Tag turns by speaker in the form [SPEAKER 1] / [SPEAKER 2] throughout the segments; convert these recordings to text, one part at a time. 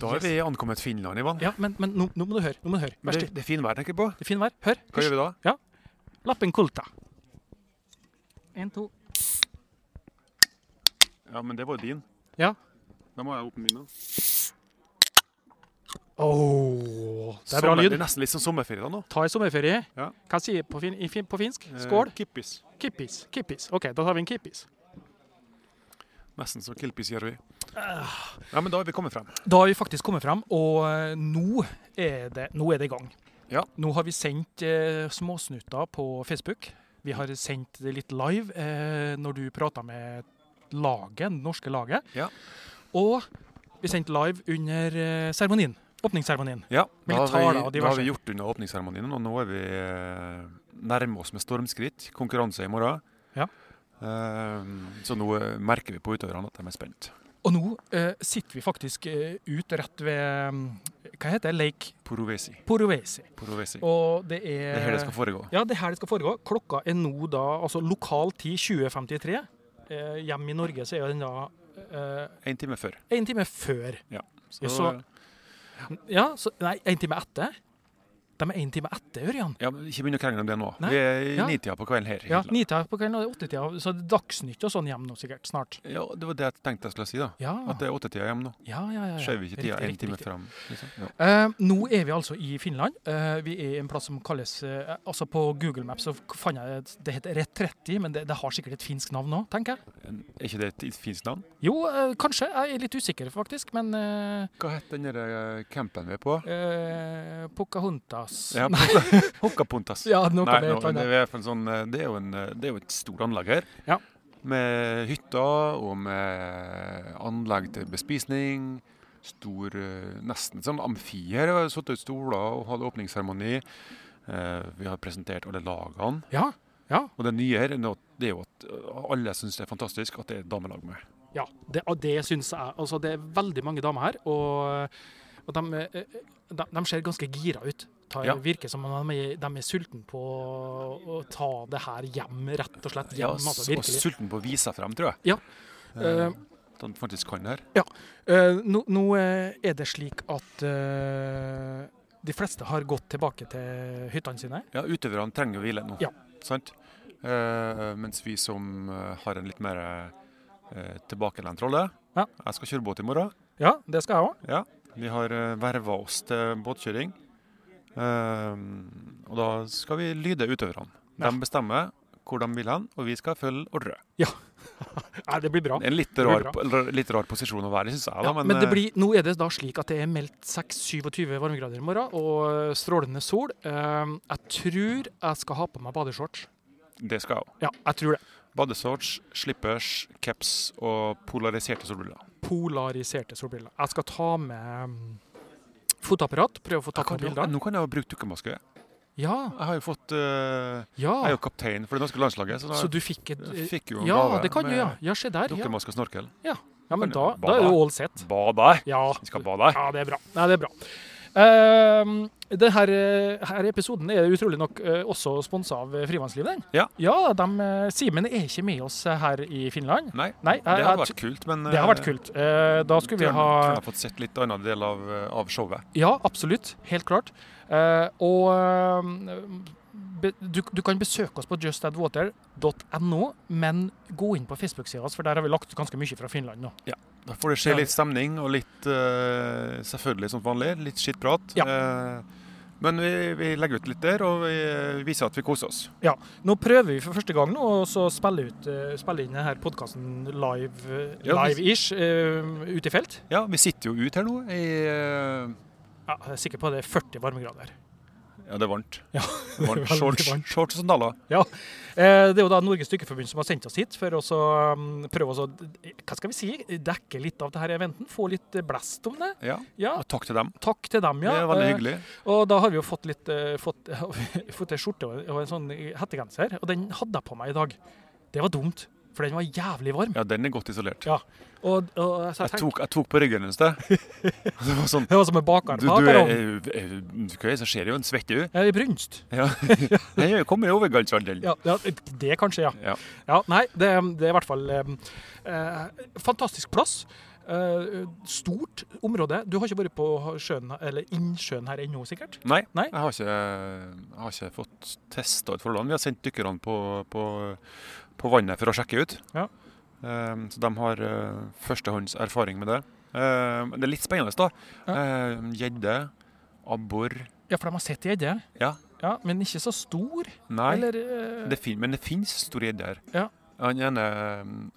[SPEAKER 1] Da er vi ankommet Finland, Ivan.
[SPEAKER 2] Ja, men, men nå, nå må du høre. Nå må du høre.
[SPEAKER 1] Men
[SPEAKER 2] Vær
[SPEAKER 1] det,
[SPEAKER 2] stille.
[SPEAKER 1] det er fin vær, tenker jeg på.
[SPEAKER 2] Det er fin vær. Hør.
[SPEAKER 1] Hva gjør vi da?
[SPEAKER 2] Ja. Lappen kulta. En, to.
[SPEAKER 1] Ja, men det var jo din.
[SPEAKER 2] Ja.
[SPEAKER 1] Da må jeg åpne min. da.
[SPEAKER 2] Åh, det er bra
[SPEAKER 1] Sommer-
[SPEAKER 2] lyd.
[SPEAKER 1] Det er nesten litt som sommerferie da nå.
[SPEAKER 2] Ta i sommerferie.
[SPEAKER 1] Ja.
[SPEAKER 2] Hva sier på, fin, i fin, på finsk?
[SPEAKER 1] Eh,
[SPEAKER 2] Skål.
[SPEAKER 1] Kippis.
[SPEAKER 2] Kippis. Kippis. OK, da tar vi en kippis.
[SPEAKER 1] Nesten som kilpis gjør vi.
[SPEAKER 2] Ah.
[SPEAKER 1] Ja, men da er vi kommet frem.
[SPEAKER 2] Da har vi faktisk kommet fram, og eh, nå er det, nå er det i gang.
[SPEAKER 1] Ja.
[SPEAKER 2] Nå har vi sendt eh, småsnutter på Facebook. Vi har sendt det litt live eh, når du prata med laget, det norske laget.
[SPEAKER 1] Ja.
[SPEAKER 2] Og vi sendte live under eh, seremonien. Åpningsseremonien.
[SPEAKER 1] Ja,
[SPEAKER 2] Med
[SPEAKER 1] da
[SPEAKER 2] litt
[SPEAKER 1] har
[SPEAKER 2] taler og
[SPEAKER 1] vi, da har
[SPEAKER 2] diverse.
[SPEAKER 1] vi gjort unna åpningsseremonien, og nå er vi eh, nærme oss med stormskritt. Konkurranse i morgen.
[SPEAKER 2] Ja.
[SPEAKER 1] Eh, så nå eh, merker vi på utøverne at de er spent.
[SPEAKER 2] Og nå eh, sitter vi faktisk eh, ut rett ved mm, Hva heter det? Lake
[SPEAKER 1] Porovesi.
[SPEAKER 2] Porovesi.
[SPEAKER 1] Porovesi.
[SPEAKER 2] Og eh, det
[SPEAKER 1] Det
[SPEAKER 2] er
[SPEAKER 1] er her det skal foregå.
[SPEAKER 2] Ja, det er her det skal foregå. Klokka er nå da altså lokal tid 20.53. Eh, hjemme i Norge så er den da eh,
[SPEAKER 1] En time før.
[SPEAKER 2] en time før.
[SPEAKER 1] Så,
[SPEAKER 2] så- Ja, så, nei, en time etter. De er en time etter, Ørjan.
[SPEAKER 1] ja, men ikke begynn å krangle om det nå.
[SPEAKER 2] Nei.
[SPEAKER 1] Vi er i
[SPEAKER 2] Ja.
[SPEAKER 1] nitida på kvelden her. i
[SPEAKER 2] Ja,
[SPEAKER 1] Finland.
[SPEAKER 2] Nitida på kvelden og det er åttetida, så det er Dagsnytt og sånn hjemme nå sikkert snart.
[SPEAKER 1] Ja, det var det jeg tenkte jeg skulle si, da.
[SPEAKER 2] Ja,
[SPEAKER 1] At det er åttetida hjemme nå.
[SPEAKER 2] ja, ja. ja, ja.
[SPEAKER 1] Skjøv vi ikke tida
[SPEAKER 2] Riktig,
[SPEAKER 1] en
[SPEAKER 2] riktig,
[SPEAKER 1] time
[SPEAKER 2] riktig.
[SPEAKER 1] fram. Liksom. Ja.
[SPEAKER 2] Eh, nå er vi altså i Finland. Eh, vi er i en plass som kalles eh, Altså på Google Maps så fant jeg et- Det heter Retretti, men det, det har sikkert et finsk navn òg, tenker jeg.
[SPEAKER 1] En- Er ikke det et finsk navn?
[SPEAKER 2] Jo, eh, kanskje. Jeg er litt usikker, faktisk. Men eh,
[SPEAKER 1] Hva het den der eh, campen vi er på?
[SPEAKER 2] Eh, Pocahontas.
[SPEAKER 1] Ja,
[SPEAKER 2] Nei,
[SPEAKER 1] Hokkapuntas.
[SPEAKER 2] ja, noe
[SPEAKER 1] Nei,
[SPEAKER 2] med et
[SPEAKER 1] nå,
[SPEAKER 2] eller
[SPEAKER 1] det,
[SPEAKER 2] annet.
[SPEAKER 1] er i hvert fall sånn, eh, det, er jo en, eh, det er jo et stort anlegg her.
[SPEAKER 2] Ja.
[SPEAKER 1] Med hytter og med anlegg til bespisning. Stor eh, Nesten som amfi her. Vi har satt ut stoler og hatt åpningsseremoni. Eh, Vi har presentert alle lagene.
[SPEAKER 2] Ja, ja,
[SPEAKER 1] Og det nye her er nå- det er jo at eh, alle syns det er fantastisk at det er et damelag med.
[SPEAKER 2] ja. Det, og det syns jeg. Altså, det er veldig mange damer her, og, og de, eh, de, de ser ganske gira ut. Ta,
[SPEAKER 1] Ja.
[SPEAKER 2] Virker som om de er, de er sultne på å ta det her hjem, rett og slett.
[SPEAKER 1] Ja,
[SPEAKER 2] Hjem, altså,
[SPEAKER 1] s- og
[SPEAKER 2] virkelig.
[SPEAKER 1] sulten på å vise seg frem, tror jeg.
[SPEAKER 2] Ja.
[SPEAKER 1] Eh,
[SPEAKER 2] Eh,
[SPEAKER 1] at han faktisk kan det her.
[SPEAKER 2] Eh, nå, nå eh, er det slik at eh, de fleste har gått tilbake til hyttene sine.
[SPEAKER 1] Ja, utøverne trenger å hvile nå.
[SPEAKER 2] Ja.
[SPEAKER 1] Sant? Eh, mens vi som eh, har en litt mer eh, tilbakelent rolle
[SPEAKER 2] Ja.
[SPEAKER 1] Jeg skal kjøre båt i morgen.
[SPEAKER 2] Ja, det skal jeg òg.
[SPEAKER 1] Ja. Vi har uh, verva oss til båtkjøring. Eh, og da skal vi lyde utøverne.
[SPEAKER 2] Ja.
[SPEAKER 1] De bestemmer hvor de vil hen, og vi skal følge ordre.
[SPEAKER 2] Nei, det blir bra.
[SPEAKER 1] Det er en litt
[SPEAKER 2] blir
[SPEAKER 1] rar,
[SPEAKER 2] bra.
[SPEAKER 1] po- eller litt rar posisjon å være i, syns jeg. Da, eh, øh,
[SPEAKER 2] Ja, men det blir, nå er det da slik at det er meldt 6-27 varmegrader i morgen og eh, strålende sol. Ehm, jeg tror jeg skal ha på meg badeshorts.
[SPEAKER 1] eh, det skal jeg òg.
[SPEAKER 2] Ja, jeg tror det.
[SPEAKER 1] Badeshorts, slippers, caps og polariserte solbriller.
[SPEAKER 2] Polariserte solbriller. Jeg skal ta med mm, fotapparat. Prøve å få tatt
[SPEAKER 1] Kan
[SPEAKER 2] noen
[SPEAKER 1] jo-
[SPEAKER 2] bilder.
[SPEAKER 1] Nå kan jeg jo bruke dukkemaske.
[SPEAKER 2] Ja,
[SPEAKER 1] Jeg har jo fått eh, Jeg er
[SPEAKER 2] ja.
[SPEAKER 1] jo kaptein for det norske landslaget, så da
[SPEAKER 2] Ah. Så du fikk et
[SPEAKER 1] jeg fikk jo en
[SPEAKER 2] Ja,
[SPEAKER 1] gave
[SPEAKER 2] det kan du,
[SPEAKER 1] med
[SPEAKER 2] ja. Ja, se der. Ja,
[SPEAKER 1] dukkemaske og snorkel.
[SPEAKER 2] ja men da, da
[SPEAKER 1] Bada.
[SPEAKER 2] er det all set.
[SPEAKER 1] Bad der!
[SPEAKER 2] Ja.
[SPEAKER 1] Vi skal bade der.
[SPEAKER 2] Ja, det er bra. Nei, det er bra. Ehm, det her, eh, her episoden er utrolig nok eh, også sponsa av eh, Frivannslivet. den.
[SPEAKER 1] Ja.
[SPEAKER 2] ja de, eh, Simen er ikke med oss eh, her i Finland.
[SPEAKER 1] Nei,
[SPEAKER 2] Nei, jeg-
[SPEAKER 1] det har
[SPEAKER 2] jeg
[SPEAKER 1] vært kult, men
[SPEAKER 2] Det har vært kult. Eh, Da skulle vi
[SPEAKER 1] Tror jeg
[SPEAKER 2] ha
[SPEAKER 1] har fått sett litt annen del av, eh, av showet.
[SPEAKER 2] Ja, absolutt. Helt klart. Eh, Og eh, be- du, du kan besøke oss på justadwater.no, men gå inn på Facebook-sida vår, for der har vi lagt ut ganske mye fra Finland nå.
[SPEAKER 1] Da får det skje litt stemning og litt eh, Selvfølgelig som vanlig, litt skittprat.
[SPEAKER 2] Ja.
[SPEAKER 1] Eh, men vi, vi legger ut litt der, og vi eh, viser at vi koser oss.
[SPEAKER 2] Nå prøver vi for første gang nå å så spille, ut, eh, spille inn denne podkasten live-ish
[SPEAKER 1] Ja, vi-
[SPEAKER 2] ute i felt.
[SPEAKER 1] Ja, vi sitter jo ut her nå i eh,
[SPEAKER 2] Ja, jeg er sikker på at det er 40 varmegrader.
[SPEAKER 1] Ja, det er varmt.
[SPEAKER 2] Ja,
[SPEAKER 1] Det er varmt.
[SPEAKER 2] veldig
[SPEAKER 1] Shorts,
[SPEAKER 2] varmt.
[SPEAKER 1] shorts og sandaler.
[SPEAKER 2] Eh, Det er jo da Norges Dykkerforbund som har sendt oss hit for å så, um, prøve å så- hva skal vi si, dekke litt av det her eventen. Få litt eh, blest om det.
[SPEAKER 1] Ja.
[SPEAKER 2] Ja,
[SPEAKER 1] Og takk til dem.
[SPEAKER 2] takk til dem, ja.
[SPEAKER 1] det er veldig
[SPEAKER 2] Eh,
[SPEAKER 1] hyggelig.
[SPEAKER 2] Og da har vi jo fått litt eh, fått, fått en skjorte og en- og en sånn hettegenser, og den hadde jeg på meg i dag. Det var dumt, for den var jævlig varm.
[SPEAKER 1] Ja, den er godt isolert.
[SPEAKER 2] Ja. Og, og så jeg
[SPEAKER 1] Jeg
[SPEAKER 2] tenkte,
[SPEAKER 1] tok, jeg tok på ryggen hennes, det. Det var sånn
[SPEAKER 2] det var som en
[SPEAKER 1] Du,
[SPEAKER 2] bakarm.
[SPEAKER 1] du er,
[SPEAKER 2] Jeg
[SPEAKER 1] er, er, hva er det som skjer? Hun svetter jo.
[SPEAKER 2] er Eh, i brunst.
[SPEAKER 1] Ja. Jeg kommer i overgangsalderen.
[SPEAKER 2] Ja, ja, det kanskje, ja.
[SPEAKER 1] Ja.
[SPEAKER 2] Ja, Nei, det, det er i hvert fall eh, eh, fantastisk plass. Eh, stort område. Du har ikke vært på sjøen, eller innsjøen her ennå, sikkert?
[SPEAKER 1] Nei,
[SPEAKER 2] Nei.
[SPEAKER 1] Jeg, har ikke, jeg har ikke fått testa ut forholdene. Vi har sendt dykkerne på, på, på vannet for å sjekke ut.
[SPEAKER 2] Ja.
[SPEAKER 1] Ehm, så de har eh, førstehånds erfaring med det. Ehm, det er litt spennende, da.
[SPEAKER 2] Ja.
[SPEAKER 1] Ehm, Gjedde, abbor
[SPEAKER 2] Ja, for de har sett gjedde.
[SPEAKER 1] Ja.
[SPEAKER 2] ja. Men ikke så stor?
[SPEAKER 1] Nei,
[SPEAKER 2] Eller eh,
[SPEAKER 1] det fin, men det fins store gjedder.
[SPEAKER 2] Ja.
[SPEAKER 1] Han ene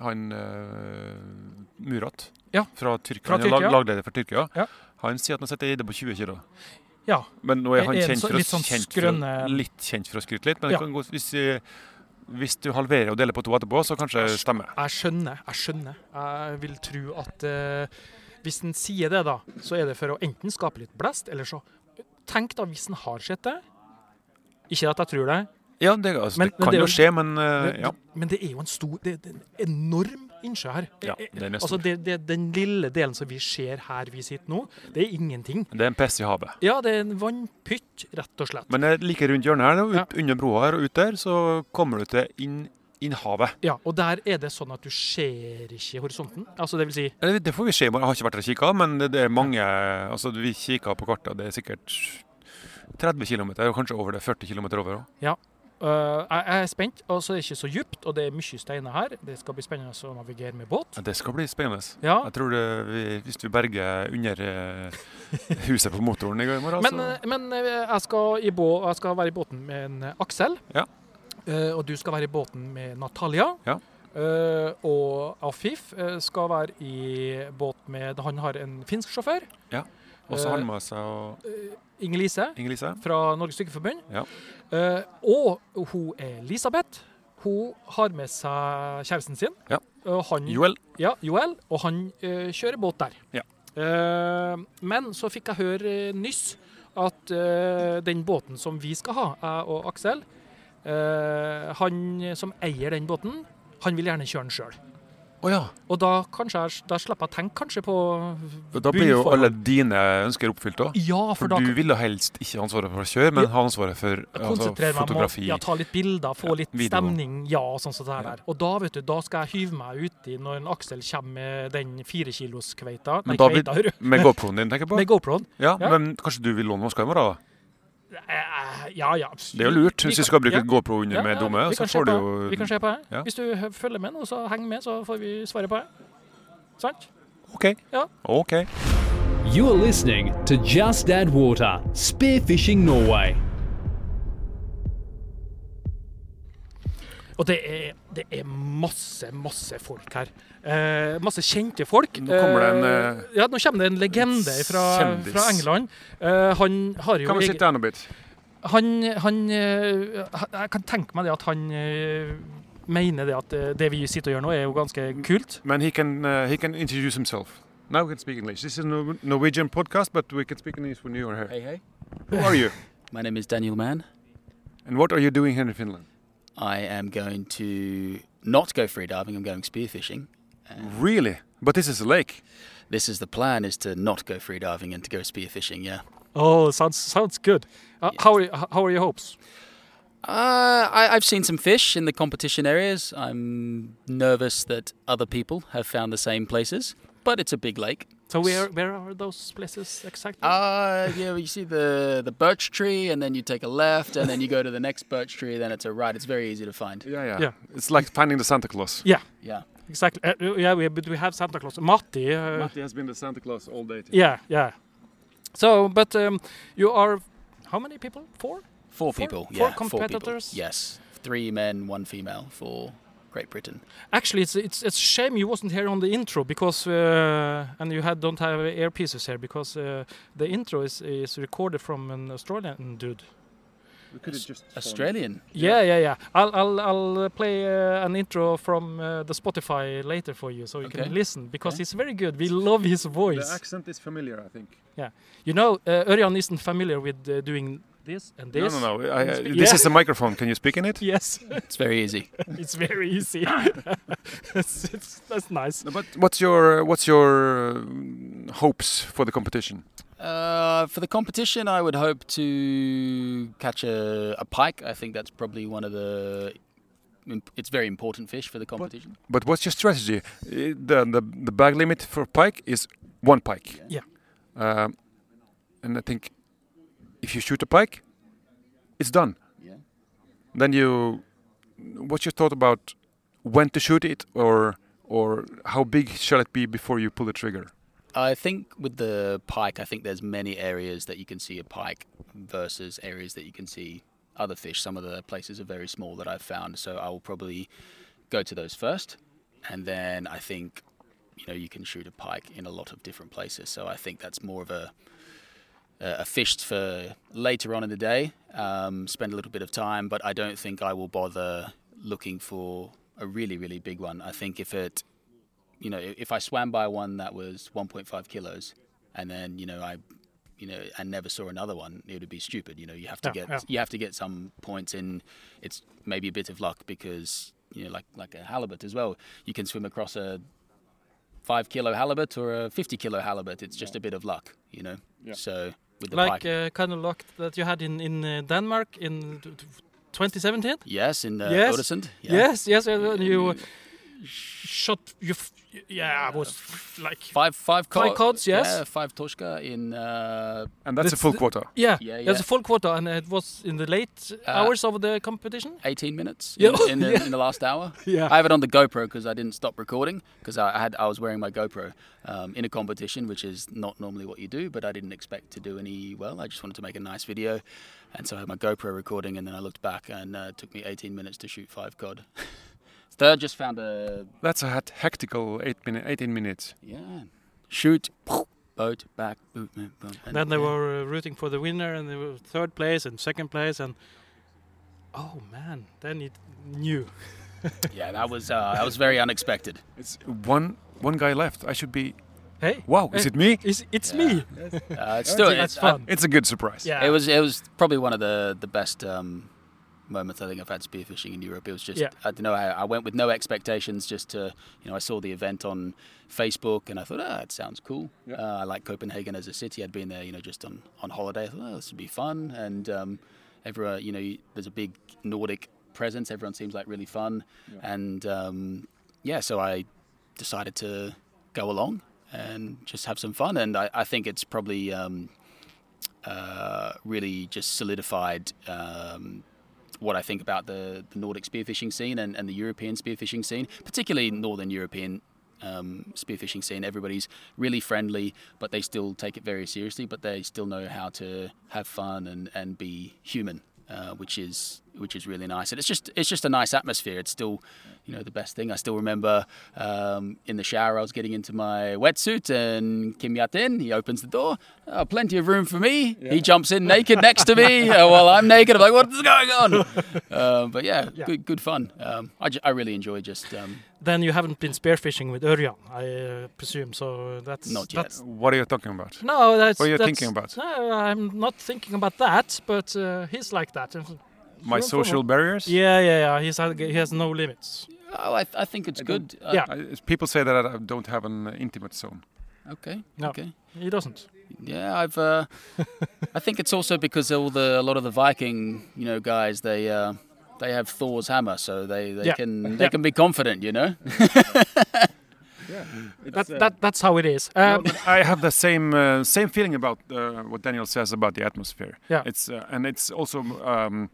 [SPEAKER 1] han, eh, Murat
[SPEAKER 2] Ja.
[SPEAKER 1] fra Tyrkia,
[SPEAKER 2] Fra
[SPEAKER 1] han er lag,
[SPEAKER 2] Tyrkia.
[SPEAKER 1] lagleder for Tyrkia,
[SPEAKER 2] Ja.
[SPEAKER 1] han sier at han setter gjedde på 20 kg.
[SPEAKER 2] Ja.
[SPEAKER 1] Men nå er
[SPEAKER 2] Er-
[SPEAKER 1] han
[SPEAKER 2] er den
[SPEAKER 1] kjent
[SPEAKER 2] så-
[SPEAKER 1] for, å,
[SPEAKER 2] litt sånn
[SPEAKER 1] kjent for, å-
[SPEAKER 2] skrønne-
[SPEAKER 1] litt kjent for å skryte litt. Men
[SPEAKER 2] Ja.
[SPEAKER 1] det kan gå, hvis, eh, hvis du halverer og deler på to etterpå, så kanskje det stemmer.
[SPEAKER 2] Jeg skjønner, jeg skjønner. Jeg vil tro at eh, hvis en sier det, da, så er det for å enten skape litt blest, eller så Tenk da hvis en har sett det. Ikke at jeg tror det,
[SPEAKER 1] Ja, det, altså,
[SPEAKER 2] Men-
[SPEAKER 1] det
[SPEAKER 2] men
[SPEAKER 1] kan
[SPEAKER 2] det er
[SPEAKER 1] jo skje, men
[SPEAKER 2] men,
[SPEAKER 1] eh, ja.
[SPEAKER 2] men det er jo en stor Det det er en enorm innsjø her.
[SPEAKER 1] Ja, den er
[SPEAKER 2] altså,
[SPEAKER 1] stor.
[SPEAKER 2] det, det, den lille delen som vi ser her vi sitter nå, det er ingenting.
[SPEAKER 1] Det er en piss i havet.
[SPEAKER 2] Ja, det er en vannpytt, rett og slett.
[SPEAKER 1] Men det er like rundt hjørnet her,
[SPEAKER 2] Ja.
[SPEAKER 1] ut, under broa her og ut der, så kommer du til inn, inn havet.
[SPEAKER 2] Ja, Og der er det sånn at du ser ikke horisonten. Altså, det vil si
[SPEAKER 1] Eller, Det får vi se. i morgen. Jeg har ikke vært der og kikka, men det, det er mange Altså, vi kikka på kartet, det er sikkert 30 km, og kanskje over det. 40 km over òg.
[SPEAKER 2] Øh, jeg jeg er spent, og så er det ikke så djupt, og det er mye steiner her. Det skal bli spennende å navigere med båt.
[SPEAKER 1] Det skal bli spennende.
[SPEAKER 2] Ja,
[SPEAKER 1] Jeg tror det, vi, hvis vi berger under eh, huset på motoren i går morgen,
[SPEAKER 2] Men,
[SPEAKER 1] så
[SPEAKER 2] øh, men øh, jeg, skal i bå jeg skal være i båten med en øh, Aksel.
[SPEAKER 1] Ja.
[SPEAKER 2] Øh, og du skal være i båten med Natalia.
[SPEAKER 1] Ja.
[SPEAKER 2] Øh, og Afif øh, skal være i båt med Han har en finsk sjåfør.
[SPEAKER 1] Og så har han
[SPEAKER 2] Eh,
[SPEAKER 1] med seg og
[SPEAKER 2] Inger-Lise
[SPEAKER 1] Inger-Lise.
[SPEAKER 2] fra Norges Stykkeforbund.
[SPEAKER 1] Ja.
[SPEAKER 2] Eh, og hun Elisabeth. Hun har med seg kjæresten sin.
[SPEAKER 1] Ja.
[SPEAKER 2] Og han
[SPEAKER 1] Joel.
[SPEAKER 2] Ja, Joel, og han eh, kjører båt der.
[SPEAKER 1] Ja.
[SPEAKER 2] Eh, men så fikk jeg høre eh, nyss at eh, den båten som vi skal ha, jeg og Aksel, eh, han som eier den båten, han vil gjerne kjøre den sjøl.
[SPEAKER 1] Å ja.
[SPEAKER 2] Og da, kanskje, jeg- da slipper jeg å tenke kanskje på
[SPEAKER 1] Da blir jo
[SPEAKER 2] bunnforhold.
[SPEAKER 1] alle dine ønsker oppfylt òg.
[SPEAKER 2] Ja, for,
[SPEAKER 1] For
[SPEAKER 2] da
[SPEAKER 1] du ville helst ikke ha ansvaret for å kjøre, men
[SPEAKER 2] Ja.
[SPEAKER 1] ha ansvaret for altså,
[SPEAKER 2] konsentrere meg om å
[SPEAKER 1] fotografi.
[SPEAKER 2] ja, ta litt bilder, få
[SPEAKER 1] Ja,
[SPEAKER 2] litt
[SPEAKER 1] video.
[SPEAKER 2] stemning. Ja, og sånn som det her
[SPEAKER 1] Ja.
[SPEAKER 2] der. Og da vet du, da skal jeg hyve meg uti når en Aksel kommer med den firekiloskveita.
[SPEAKER 1] Men
[SPEAKER 2] Nei,
[SPEAKER 1] da blir-
[SPEAKER 2] kveita, hører du.
[SPEAKER 1] Med GoProen din, tenker jeg på.
[SPEAKER 2] Med GoProen.
[SPEAKER 1] Ja,
[SPEAKER 2] Ja.
[SPEAKER 1] Men kanskje du vil låne maska i morgen? da?
[SPEAKER 2] Eh, Ja, ja.
[SPEAKER 1] Det er jo lurt.
[SPEAKER 2] Vi
[SPEAKER 1] Hvis du
[SPEAKER 2] kan-
[SPEAKER 1] skal bruke
[SPEAKER 2] ja.
[SPEAKER 1] GoPro under
[SPEAKER 2] Ja,
[SPEAKER 1] med
[SPEAKER 2] ja,
[SPEAKER 1] dumme,
[SPEAKER 2] vi
[SPEAKER 1] så
[SPEAKER 2] kan se
[SPEAKER 1] får du
[SPEAKER 2] på-
[SPEAKER 1] jo
[SPEAKER 2] Vi kan se på det.
[SPEAKER 1] Ja.
[SPEAKER 2] Hvis du hø- følger med nå, så heng med, så får vi svare på det. Sant?
[SPEAKER 1] OK.
[SPEAKER 2] Ja.
[SPEAKER 1] OK.
[SPEAKER 3] You are listening to Just Add Water, Spearfishing Norway.
[SPEAKER 2] Og det er, det er masse, masse folk her. Eh, masse kjente folk.
[SPEAKER 1] Nå kommer det en,
[SPEAKER 2] Eh, ja, nå kommer det en legende fra,
[SPEAKER 1] kjendis.
[SPEAKER 2] fra England. Eh, han har jo
[SPEAKER 1] Kan vi
[SPEAKER 2] egen-
[SPEAKER 1] sitte her nå, Bit?
[SPEAKER 2] han, han eh, Jeg kan tenke meg det at han eh, mener det at eh, det vi sitter og gjør nå, er jo ganske kult.
[SPEAKER 1] Man, he can, uh, he can introduce himself. Now we can speak English. This is a Nor- Norwegian podcast, but we can speak English when you are here.
[SPEAKER 4] Hey, hey.
[SPEAKER 1] Who are you?
[SPEAKER 4] My name is Daniel Mann.
[SPEAKER 1] And what are you doing here in Finland?
[SPEAKER 4] I am going to not go freediving. I'm going spearfishing.
[SPEAKER 1] Really? But this is a lake.
[SPEAKER 4] This is the plan: is to not go freediving and to go spearfishing. Yeah.
[SPEAKER 2] Oh, sounds, sounds good. Uh, how, are, how are your hopes?
[SPEAKER 4] Uh, I, I've seen some fish in the competition areas. I'm nervous that other people have found the same places, but it's a big lake.
[SPEAKER 2] So where, where are those places exactly?
[SPEAKER 4] Uh, yeah, well, you see the the birch tree, and then you take a left, and then you go to the next birch tree, then it's a right. It's very easy to find.
[SPEAKER 1] Yeah, yeah.
[SPEAKER 2] Yeah.
[SPEAKER 1] It's like finding the Santa Claus.
[SPEAKER 2] yeah,
[SPEAKER 4] Yeah.
[SPEAKER 2] exactly. Uh, yeah, we, but we have Santa Claus. Matti. Uh,
[SPEAKER 1] Matti has been the Santa Claus all day. today.
[SPEAKER 2] Yeah, yeah. So, but um, you are how many people? Four?
[SPEAKER 4] Four
[SPEAKER 2] Four-
[SPEAKER 4] people.
[SPEAKER 2] four
[SPEAKER 4] yeah,
[SPEAKER 2] competitors?
[SPEAKER 4] Four people. Yes, three men, one female for Great Britain.
[SPEAKER 2] Actually, it's it's it's a shame you wasn't here on the intro because uh, and you had don't have earpieces here because uh, the intro is is recorded from an Australian dude.
[SPEAKER 1] We could have just. formed-
[SPEAKER 4] Australian.
[SPEAKER 2] Yeah, yeah, yeah. I'll I'll I'll play uh, an intro from uh, the Spotify later for you, so you
[SPEAKER 4] Okay.
[SPEAKER 2] can listen because
[SPEAKER 4] Okay.
[SPEAKER 2] it's very good. We love his
[SPEAKER 1] The
[SPEAKER 2] voice.
[SPEAKER 1] accent is familiar, I think.
[SPEAKER 2] You know, uh, Örjan isn't familiar with uh, doing this and this.
[SPEAKER 1] No, no, no. I, I,
[SPEAKER 2] Speak-
[SPEAKER 1] This
[SPEAKER 2] Yeah.
[SPEAKER 1] is a microphone. Can you speak in it?
[SPEAKER 2] Yes,
[SPEAKER 4] It's very easy.
[SPEAKER 2] it's very easy. it's, it's, that's nice.
[SPEAKER 1] No, but what's your what's your uh, hopes for the competition?
[SPEAKER 4] Uh, for the competition, I would hope to catch a, a pike. I think that's probably one of the. imp- It's very important fish for the competition.
[SPEAKER 1] But what's your strategy? Uh, The the, the bag limit for pike is one pike.
[SPEAKER 2] Yeah.
[SPEAKER 1] Um, and I think if you shoot a pike, it's done.
[SPEAKER 4] Yeah.
[SPEAKER 1] Then you, what's your thought about when to shoot it or or how big shall it be before you pull the trigger?
[SPEAKER 4] I think with the pike, I think there's many areas that you can see a pike versus areas that you can see other fish. Some of the places are very small that I've found, so I will probably go to those first, and then I think you know you can shoot a pike in a lot of different places. So I think that's more of a a fish for later on in the day. Um, spend a little bit of time, but I don't think I will bother looking for a really really big one. I think if it you know, if I swam by one that was 1.5 kilos, and then you know I, you know, and never saw another one, it would be stupid. You know, you have to
[SPEAKER 2] Yeah,
[SPEAKER 4] get
[SPEAKER 2] yeah.
[SPEAKER 4] you have to get some points in. It's maybe a bit of luck because you know, like like a halibut as well, you can swim across a five kilo halibut or a 50 kilo halibut. It's just a bit of luck, you know. So with the
[SPEAKER 2] Like
[SPEAKER 4] pike.
[SPEAKER 2] uh, kind of luck that you had in in uh, Denmark in t- t- 2017.
[SPEAKER 4] Yes, in uh,
[SPEAKER 2] Yes.
[SPEAKER 4] Odesund. Yeah.
[SPEAKER 2] Yes, yes, yes. and You shot you. F- yeah, I was f- like.
[SPEAKER 4] Five five,
[SPEAKER 2] Five cods, yes.
[SPEAKER 4] Yeah, five torska in uh,
[SPEAKER 1] And that's a
[SPEAKER 2] That's
[SPEAKER 1] full
[SPEAKER 2] the-
[SPEAKER 1] quota.
[SPEAKER 2] Yeah,
[SPEAKER 4] Yeah,
[SPEAKER 2] there's
[SPEAKER 4] yeah.
[SPEAKER 2] a full quota, and it was in the late
[SPEAKER 4] Uh,
[SPEAKER 2] hours of the competition.
[SPEAKER 4] 18 minutes
[SPEAKER 2] Yeah.
[SPEAKER 4] in, in, the, in the last hour.
[SPEAKER 2] Yeah.
[SPEAKER 4] I have it on the GoPro because I didn't stop recording because I I had I was wearing my GoPro um, in a competition, which is not normally what you do, but I didn't expect to do any well. I just wanted to make a nice video, and so I had my GoPro recording, and then I looked back, and uh, it took me 18 minutes to shoot five cod. Third, just found a
[SPEAKER 1] That's a hec- hectical eight minute, 18 minutes.
[SPEAKER 4] yeah shoot boat back boot boom, boom, and-
[SPEAKER 2] then they were uh, rooting for the winner, and they were third place and second place, and oh man, then it knew.
[SPEAKER 4] yeah that was uh, that was very unexpected. Uh,
[SPEAKER 1] It's one one guy left. I should be.
[SPEAKER 2] Hey,
[SPEAKER 1] Wow, is
[SPEAKER 2] Hey.
[SPEAKER 1] it me?
[SPEAKER 2] it's, it's
[SPEAKER 4] Yeah.
[SPEAKER 2] me.
[SPEAKER 4] Uh, it's still
[SPEAKER 2] That's
[SPEAKER 4] it's- I-
[SPEAKER 2] fun.
[SPEAKER 1] It's a good surprise.
[SPEAKER 2] yeah,
[SPEAKER 4] It was it was probably one of the the best um, moments I think I've had spearfishing in Europe. It was just
[SPEAKER 2] Yeah.
[SPEAKER 4] I don't know I, I went with no expectations, just to you know I saw the event on Facebook and I thought ah it sounds cool.
[SPEAKER 1] Yeah.
[SPEAKER 4] Uh, I like Copenhagen as a city. I'd been there you know just on on holiday. I thought oh, this would be fun and um, everyone you know you- there's a big Nordic presence. Everyone seems like really fun and um, yeah so I decided to go along and just have some fun and I, I think it's probably um, uh, really just solidified um, what I think about the, the Nordic spearfishing scene and, and the European spearfishing scene, particularly Northern European um, spearfishing scene. Everybody's really friendly, but they still take it very seriously, but they still know how to have fun and, and be human. Uh, which is which is really nice, and it's just it's just a nice atmosphere. It's still, you know, the best thing. I still remember um, in the shower I was getting into my wetsuit, and Kim Yat in. He opens the door, oh, plenty of room for me. He jumps in naked next to me uh, while I'm naked. I'm like, what is going on? um, but yeah,
[SPEAKER 2] Yeah.
[SPEAKER 4] good good fun. Um, I, ju- I really enjoy just um,
[SPEAKER 2] Then you haven't been spearfishing with Örjan, I uh, presume. So that's
[SPEAKER 4] Not yet.
[SPEAKER 2] That's,
[SPEAKER 1] What are you talking about?
[SPEAKER 2] no, that's
[SPEAKER 1] What are you
[SPEAKER 2] that's-
[SPEAKER 1] thinking about?
[SPEAKER 2] No, I'm not thinking about that, but uh, he's like that.
[SPEAKER 1] My
[SPEAKER 2] Sure,
[SPEAKER 1] social
[SPEAKER 2] sure.
[SPEAKER 1] barriers?
[SPEAKER 2] Yeah, yeah, yeah. He's, he has no limits.
[SPEAKER 4] Oh, I, I think it's good. Uh,
[SPEAKER 2] Yeah.
[SPEAKER 1] I, people say that I don't have an uh, intimate zone.
[SPEAKER 4] Okay.
[SPEAKER 2] No.
[SPEAKER 4] Okay.
[SPEAKER 2] He doesn't.
[SPEAKER 4] Yeah, I've. Uh, I think it's also because all the a lot of the Viking, you know, guys they uh, they have Thor's hammer, so they, they
[SPEAKER 2] Yeah.
[SPEAKER 4] can they
[SPEAKER 2] Yeah.
[SPEAKER 4] can be confident, you know.
[SPEAKER 2] That, that, that's how it is.
[SPEAKER 1] Mm. uh, No,
[SPEAKER 2] Um,
[SPEAKER 1] but I have the same uh, same feeling about uh, what Daniel says about the atmosphere.
[SPEAKER 2] Yeah.
[SPEAKER 1] It's uh, and it's also um,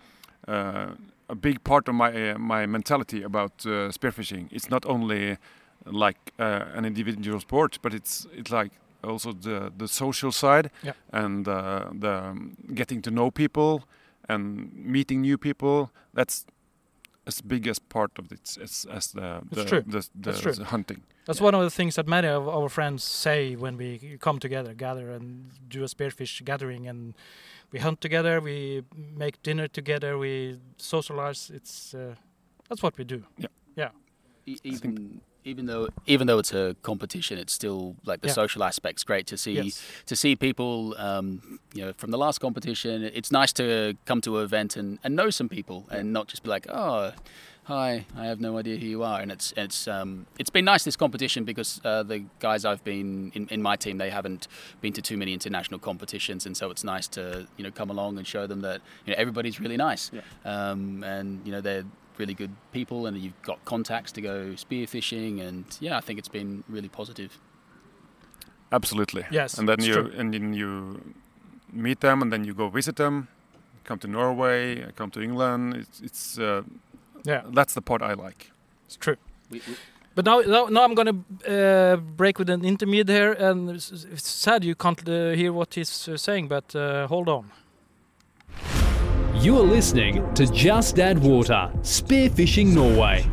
[SPEAKER 1] uh, a big part of my uh, my mentality about uh, spearfishing. It's not only like uh, an individual sport, but it's it's like also the the social side
[SPEAKER 2] Yeah.
[SPEAKER 1] and uh, the um, getting to know people and meeting new people. That's as big as part of it as, as the
[SPEAKER 2] It's
[SPEAKER 1] the,
[SPEAKER 2] true.
[SPEAKER 1] the, the,
[SPEAKER 2] It's true.
[SPEAKER 1] the hunting.
[SPEAKER 2] That's one of the things that many of our friends say when we come together, gather and do a spearfish gathering and we hunt together, we make dinner together, we socialize. It's uh, that's what we do.
[SPEAKER 4] E- even even though even though it's a competition, it's still like the
[SPEAKER 2] Yeah.
[SPEAKER 4] social aspect's great to see
[SPEAKER 2] Yes.
[SPEAKER 4] to see people. Um, you know, from the last competition, it's nice to come to an event and, and know some people and not just be like, oh. Hi, I have no idea who you are, and it's it's um, it's been nice this competition because uh, the guys I've been in, in my team they haven't been to too many international competitions, and so it's nice to you know come along and show them that you know everybody's really nice, um, and you know they're really good people, and you've got contacts to go spearfishing, and yeah, I think it's been really positive.
[SPEAKER 1] Absolutely.
[SPEAKER 2] Yes,
[SPEAKER 1] And then
[SPEAKER 2] it's
[SPEAKER 1] you
[SPEAKER 2] true.
[SPEAKER 1] and then you meet them, and then you go visit them. Come to Norway, come to England. It's, it's uh,
[SPEAKER 2] Yeah,
[SPEAKER 1] that's the part I like.
[SPEAKER 2] it's true. But now, now, now I'm gonna uh, break with an intermediate here, and it's, it's sad you can't uh, hear what he's uh, saying. But uh, hold on.
[SPEAKER 3] You're listening to Just Add Water, Spearfishing Norway.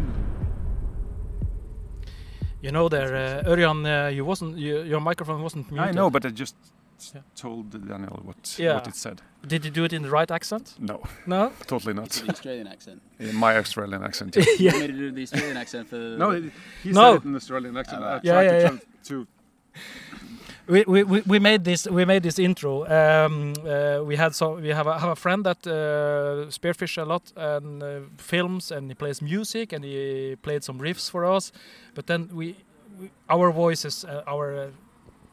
[SPEAKER 2] You know there, uh, Örjan, uh, you wasn't you, your microphone wasn't muted.
[SPEAKER 1] I know, but I just
[SPEAKER 2] Yeah.
[SPEAKER 1] told Daniel what
[SPEAKER 2] Yeah.
[SPEAKER 1] what it said.
[SPEAKER 2] Did you do it in the right accent?
[SPEAKER 1] No,
[SPEAKER 2] No.
[SPEAKER 1] totally
[SPEAKER 4] It's
[SPEAKER 1] not.
[SPEAKER 4] an Australian accent.
[SPEAKER 1] In my Australian accent.
[SPEAKER 4] You want me to do the Australian accent for
[SPEAKER 1] no, it- he
[SPEAKER 2] No.
[SPEAKER 1] said it in Australian accent.
[SPEAKER 4] Alright.
[SPEAKER 1] I
[SPEAKER 2] Yeah,
[SPEAKER 1] tried
[SPEAKER 2] yeah,
[SPEAKER 1] to,
[SPEAKER 2] yeah.
[SPEAKER 1] tran- to
[SPEAKER 2] we, we, we- we made this we made this intro. Um, uh, we had so we have a, have a friend that uh, spearfish a lot and uh, films and he plays music and he played some riffs for us. But then we, we our voices uh, our uh,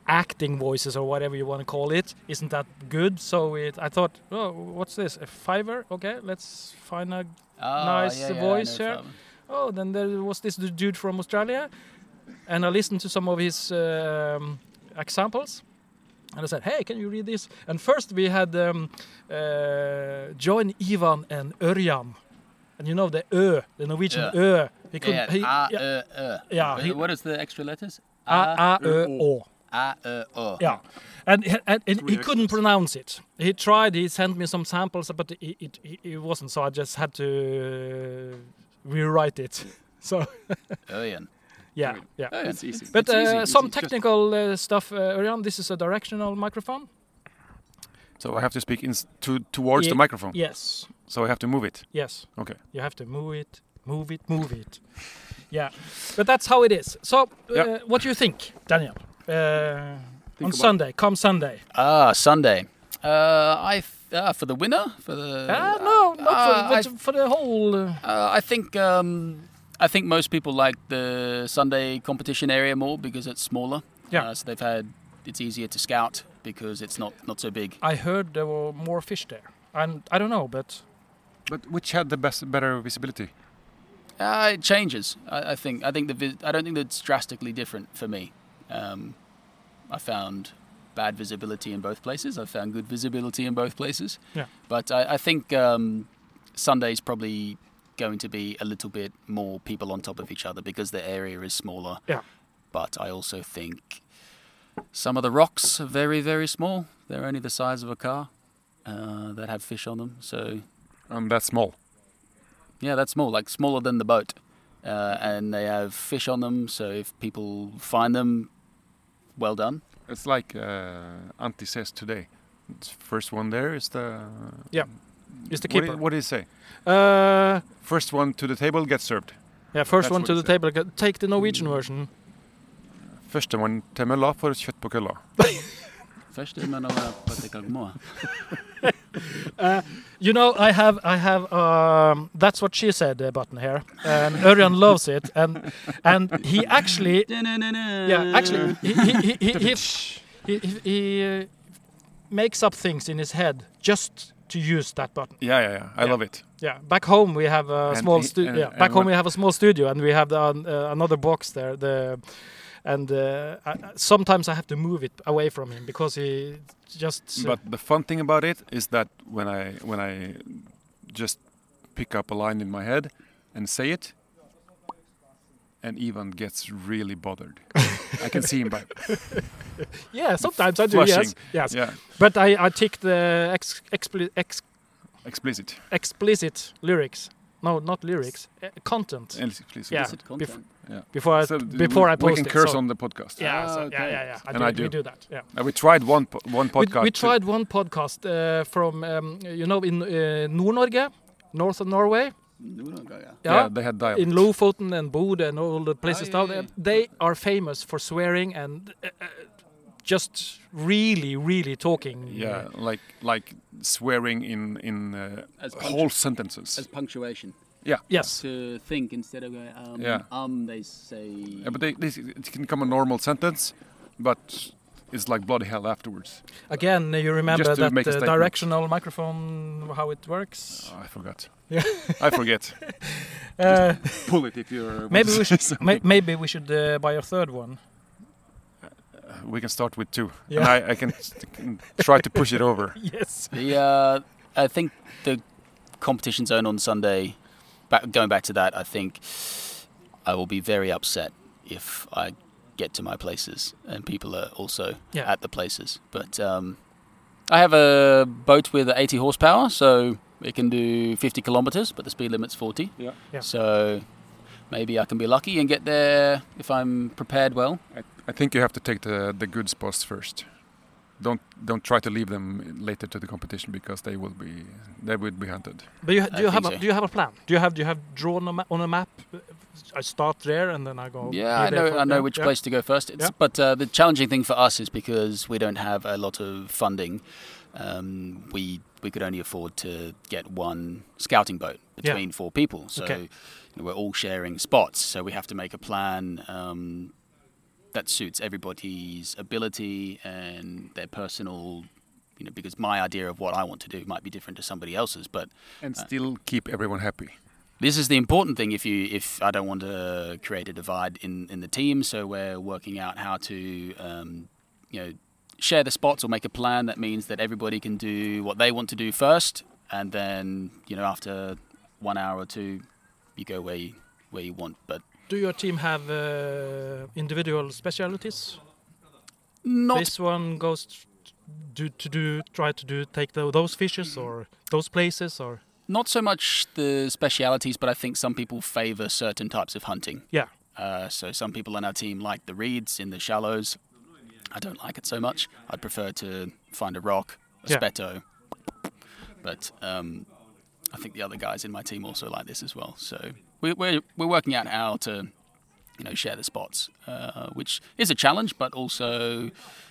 [SPEAKER 2] acting voices or whatever you want to call it isn't that good. So it, I thought, oh, what's this? A fiver? Okay, let's find a
[SPEAKER 4] Oh,
[SPEAKER 2] Nice voice here. Oh, then there was this d- dude from Australia, and I listened to some of his um, examples, and I said, "Hey, can you read this?" And first we had um, uh, John, Ivan, and Örjan, and you know the Ö, the Norwegian
[SPEAKER 4] Yeah.
[SPEAKER 2] Ö. He
[SPEAKER 4] Yeah,
[SPEAKER 2] he-
[SPEAKER 4] ah,
[SPEAKER 2] yeah,
[SPEAKER 4] uh, uh.
[SPEAKER 2] Yeah,
[SPEAKER 4] What-
[SPEAKER 2] he-
[SPEAKER 4] what is the extra letters? E,
[SPEAKER 2] A, A, Ö,
[SPEAKER 1] Ö,
[SPEAKER 2] O.
[SPEAKER 4] Ah, uh, oh.
[SPEAKER 2] Yeah, and he- and, and
[SPEAKER 1] Three
[SPEAKER 2] he couldn't
[SPEAKER 1] extras.
[SPEAKER 2] pronounce it. He tried. He sent me some samples, but it it, it, it wasn't. So I just had to rewrite it. So
[SPEAKER 4] Örjan.
[SPEAKER 2] yeah, yeah.
[SPEAKER 4] Örjan.
[SPEAKER 1] It's easy.
[SPEAKER 2] But
[SPEAKER 1] It's
[SPEAKER 2] uh,
[SPEAKER 1] easy,
[SPEAKER 2] some
[SPEAKER 1] easy. Just-
[SPEAKER 2] technical uh, stuff, uh, Örjan. This is a directional microphone.
[SPEAKER 1] So I have to speak in, s- to, towards
[SPEAKER 2] Ye-
[SPEAKER 1] the microphone.
[SPEAKER 2] Yes,
[SPEAKER 1] So I have to move it.
[SPEAKER 2] yes.
[SPEAKER 1] Okay.
[SPEAKER 2] You have to move it, move it, move it. yeah, but that's how it is. So, uh,
[SPEAKER 1] Yeah.
[SPEAKER 2] what do you think, Daniel? Uh, on
[SPEAKER 1] about-
[SPEAKER 2] Sunday, come Sunday.
[SPEAKER 4] Ah, Sunday. Uh, I th- uh, for the winner for the.
[SPEAKER 2] Ah, no, not
[SPEAKER 4] Ah,
[SPEAKER 2] for,
[SPEAKER 4] I
[SPEAKER 2] but for the whole. Uh,
[SPEAKER 4] Uh, I think um, I think most people like the Sunday competition area more because it's smaller.
[SPEAKER 2] Yeah.
[SPEAKER 4] Uh, so they've had it's easier to scout because it's not not so big.
[SPEAKER 2] I heard there were more fish there. I'm, I don't know, but
[SPEAKER 1] But which had the best, better visibility?
[SPEAKER 4] Uh, it changes. I, I think I think the vis- I don't think that's drastically different for me. Um, I found bad visibility in both places. I found good visibility in both places.
[SPEAKER 2] Yeah.
[SPEAKER 4] But I, I think um, Sunday's probably going to be a little bit more people on top of each other because the area is smaller.
[SPEAKER 2] Yeah.
[SPEAKER 4] But I also think some of the rocks are very very small. They're only the size of a car uh, that have fish on them. So
[SPEAKER 1] And that's Um, small.
[SPEAKER 4] yeah, that's small, like smaller than the boat. Uh, and they have fish on them, so if people find them, well done.
[SPEAKER 1] It's like uh, Antti says today. It's first one there is the.
[SPEAKER 2] Yeah, it's the
[SPEAKER 1] What do you-
[SPEAKER 2] keeper.
[SPEAKER 1] What did he say?
[SPEAKER 2] Uh,
[SPEAKER 1] First one to the table gets served.
[SPEAKER 2] yeah, first
[SPEAKER 1] That's
[SPEAKER 2] one
[SPEAKER 1] what
[SPEAKER 2] to
[SPEAKER 1] he
[SPEAKER 2] the
[SPEAKER 1] said.
[SPEAKER 2] table. G- Take the Norwegian version.
[SPEAKER 1] Førstemann til mølla får kjøtt på kølla.
[SPEAKER 4] Første mann over på det kalmoa.
[SPEAKER 2] You know, I have, I have. Um, that's what she said. Uh, button here, and Örjan loves it, and and he actually, yeah, actually, uh, he he he he, he, he, he, he uh, makes up things in his head just to use that button.
[SPEAKER 1] Yeah, yeah, yeah. I
[SPEAKER 2] Yeah.
[SPEAKER 1] love it.
[SPEAKER 2] Yeah, back home we have a
[SPEAKER 1] And
[SPEAKER 2] small
[SPEAKER 1] he-
[SPEAKER 2] studio.
[SPEAKER 1] and-
[SPEAKER 2] Yeah,
[SPEAKER 1] and
[SPEAKER 2] back home
[SPEAKER 1] what-
[SPEAKER 2] we have a small studio, and we have the, an- uh, another box there. The and uh, I, I- sometimes I have to move it away from him because he just.
[SPEAKER 1] But the fun thing about it is that when I when I just pick up a line in my head and say it, and Ivan gets really bothered. I can see him by
[SPEAKER 2] yeah, sometimes I do. Yes,
[SPEAKER 1] flushing.
[SPEAKER 2] yes.
[SPEAKER 1] yeah,
[SPEAKER 2] But I I tick the ex, expli- ex,
[SPEAKER 1] explicit.
[SPEAKER 2] explicit lyrics. No, not lyrics. Uh, content.
[SPEAKER 1] And please,
[SPEAKER 2] Yeah.
[SPEAKER 4] Is it content?
[SPEAKER 2] Before I,
[SPEAKER 1] So
[SPEAKER 2] before
[SPEAKER 1] we,
[SPEAKER 2] I post
[SPEAKER 1] we can
[SPEAKER 2] it.
[SPEAKER 1] curse
[SPEAKER 2] so-
[SPEAKER 1] on the podcast.
[SPEAKER 2] yeah, so,
[SPEAKER 4] Ah,
[SPEAKER 2] yeah,
[SPEAKER 4] okay.
[SPEAKER 2] yeah, yeah. I
[SPEAKER 1] And
[SPEAKER 2] do,
[SPEAKER 1] I
[SPEAKER 2] We
[SPEAKER 1] do.
[SPEAKER 2] do that. Yeah.
[SPEAKER 1] Uh, we tried one po- one
[SPEAKER 2] We,
[SPEAKER 1] podcast.
[SPEAKER 2] we tried one podcast uh, from um, you know in uh, Nord-Norge, northern Norway.
[SPEAKER 4] No, we don't go, yeah.
[SPEAKER 1] yeah,
[SPEAKER 2] Yeah.
[SPEAKER 1] they had dialect.
[SPEAKER 2] in Lofoten and Bodø and all the places
[SPEAKER 1] Ah, yeah,
[SPEAKER 2] down
[SPEAKER 1] yeah,
[SPEAKER 2] there, they are famous for swearing and uh, uh, just really, really talking.
[SPEAKER 1] Yeah, like like swearing in in uh,
[SPEAKER 4] As punch-
[SPEAKER 1] whole sentences.
[SPEAKER 4] As punctuation.
[SPEAKER 2] Yes.
[SPEAKER 4] To think instead of going, um,
[SPEAKER 1] Yeah.
[SPEAKER 4] um, they say.
[SPEAKER 1] Yeah, but they, this it can come a normal sentence, but it's like bloody hell afterwards.
[SPEAKER 2] Again, you remember
[SPEAKER 1] Just to
[SPEAKER 2] that
[SPEAKER 1] make a
[SPEAKER 2] uh,
[SPEAKER 1] statement.
[SPEAKER 2] directional microphone, how it works.
[SPEAKER 1] Oh, I forgot.
[SPEAKER 2] Yeah.
[SPEAKER 1] I forget. Oh,
[SPEAKER 2] Uh,
[SPEAKER 1] Pull it if you're.
[SPEAKER 2] maybe we should may, maybe we should uh, buy a third one.
[SPEAKER 1] we can start with two,
[SPEAKER 2] Yeah.
[SPEAKER 1] and I, I can s- can try to push it over.
[SPEAKER 2] Yes.
[SPEAKER 4] The uh, I think the competition zone on Sunday. Back, going back to that, I think I will be very upset if I get to my places and people are also
[SPEAKER 2] Yeah.
[SPEAKER 4] at the places. But um, I have a boat with 80 horsepower, so it can do 50 kilometers, but the speed limit's 40.
[SPEAKER 1] Yeah.
[SPEAKER 2] Yeah.
[SPEAKER 4] So maybe I can be lucky and get there if I'm prepared well.
[SPEAKER 1] I, I think you have to take the the good spots first. Don't don't try to leave them later to the competition because they will be they would be hunted.
[SPEAKER 2] But you,
[SPEAKER 4] I
[SPEAKER 2] do you have
[SPEAKER 4] think
[SPEAKER 2] a,
[SPEAKER 4] so.
[SPEAKER 2] do you have a plan? Do you have do you have drawn a ma- on a map? I start there and then I go.
[SPEAKER 4] Yeah,
[SPEAKER 2] here,
[SPEAKER 4] I
[SPEAKER 2] there,
[SPEAKER 4] know,
[SPEAKER 2] from
[SPEAKER 4] I know
[SPEAKER 2] there.
[SPEAKER 4] which
[SPEAKER 2] Yeah.
[SPEAKER 4] place to go first. It's,
[SPEAKER 2] Yeah.
[SPEAKER 4] But uh, the challenging thing for us is because we don't have a lot of funding. Um, we we could only afford to get one scouting boat
[SPEAKER 2] Yeah.
[SPEAKER 4] between four people, so
[SPEAKER 2] Okay.
[SPEAKER 4] you know, we're all sharing spots. So we have to make a plan um, that suits everybody's ability and their personal. You know, because my idea of what I want to do might be different to somebody else's, but
[SPEAKER 1] And
[SPEAKER 2] Uh.
[SPEAKER 1] still keep everyone happy.
[SPEAKER 4] this is the important thing if you if I don't want to create a divide in in the team so we're working out how to um, you know share the spots or make a plan that means that everybody can do what they want to do first and then you know after one hour or two you go where you, where you want but
[SPEAKER 2] Do your team have uh, individual specialities?
[SPEAKER 4] not
[SPEAKER 2] this one goes t- do to do try to do take tho- those fishes or those places or
[SPEAKER 4] not so much the specialities but I think some people favor certain types of hunting
[SPEAKER 2] yeah
[SPEAKER 4] Uh, so some people on our team like the reeds in the shallows. I don't like it so much. I'd prefer to find a rock, a
[SPEAKER 2] Yeah.
[SPEAKER 4] spetto. But um, I think the other guys in my team also like this as well. So we, we're we're working out how to, you know, share the spots, uh, which is a challenge. But also,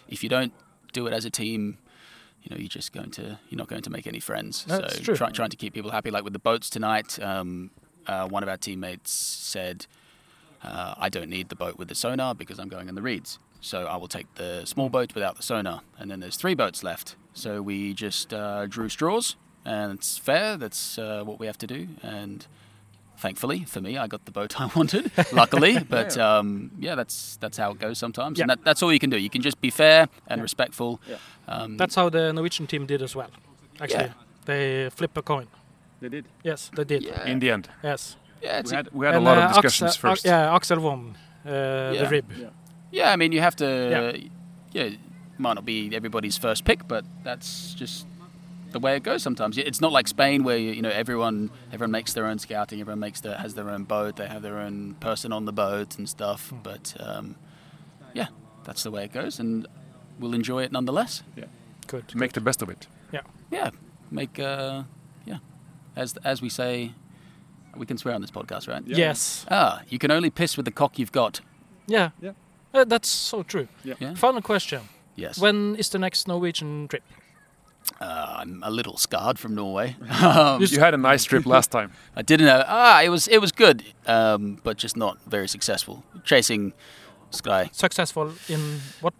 [SPEAKER 4] if you don't do it as a team, you know, you're just going to you're not going to make any friends.
[SPEAKER 2] That's
[SPEAKER 4] so
[SPEAKER 2] true.
[SPEAKER 4] Try, trying to keep people happy, like with the boats tonight. Um, uh, one of our teammates said, uh, "I don't need the boat with the sonar because I'm going in the reeds, so I will take the small boat without the sonar." And then there's three boats left, so we just uh, drew straws, and it's fair. That's uh, what we have to do, and. Thankfully for me, I got the boat I wanted. Luckily, but um, yeah, that's that's how it goes sometimes, and
[SPEAKER 2] Yeah.
[SPEAKER 4] that, that's all you can do. You can just be fair and respectful. Um,
[SPEAKER 2] that's how the norwegian team did as well actually they flip a coin
[SPEAKER 4] they did.
[SPEAKER 2] yes they did
[SPEAKER 4] Yeah,
[SPEAKER 1] In the end,
[SPEAKER 2] yes
[SPEAKER 4] yeah, it's
[SPEAKER 1] we
[SPEAKER 4] a-
[SPEAKER 1] had, we had
[SPEAKER 2] And,
[SPEAKER 1] a lot
[SPEAKER 2] uh,
[SPEAKER 1] of discussions
[SPEAKER 2] Axel- Ac-
[SPEAKER 1] first.
[SPEAKER 2] yeah axel won uh, the
[SPEAKER 4] Yeah.
[SPEAKER 2] rib
[SPEAKER 4] Yeah, I mean, you have to. Yeah. it might not be everybody's first pick, but that's just the way it goes sometimes. It's not like Spain where you know everyone everyone makes their own scouting, everyone makes their has their own boat, they have their own person on the boat and stuff. But um, yeah, that's the way it goes, and we'll enjoy it nonetheless.
[SPEAKER 2] good
[SPEAKER 1] To make the best of it.
[SPEAKER 4] Yeah, make uh, yeah, as as we say, we can swear on this podcast, right?
[SPEAKER 2] yes
[SPEAKER 4] Ah, you can only piss with the cock you've got.
[SPEAKER 2] yeah,
[SPEAKER 1] Yeah.
[SPEAKER 2] Uh, that's so true
[SPEAKER 4] Yeah.
[SPEAKER 2] final question
[SPEAKER 4] Yes.
[SPEAKER 2] when is the next norwegian trip
[SPEAKER 4] Uh, I'm a little scarred from Norway. um,
[SPEAKER 1] You had a nice trip last time.
[SPEAKER 4] I didn't know. Ah, it was it was good, um, but just not very successful. Chasing Sky,
[SPEAKER 2] successful in what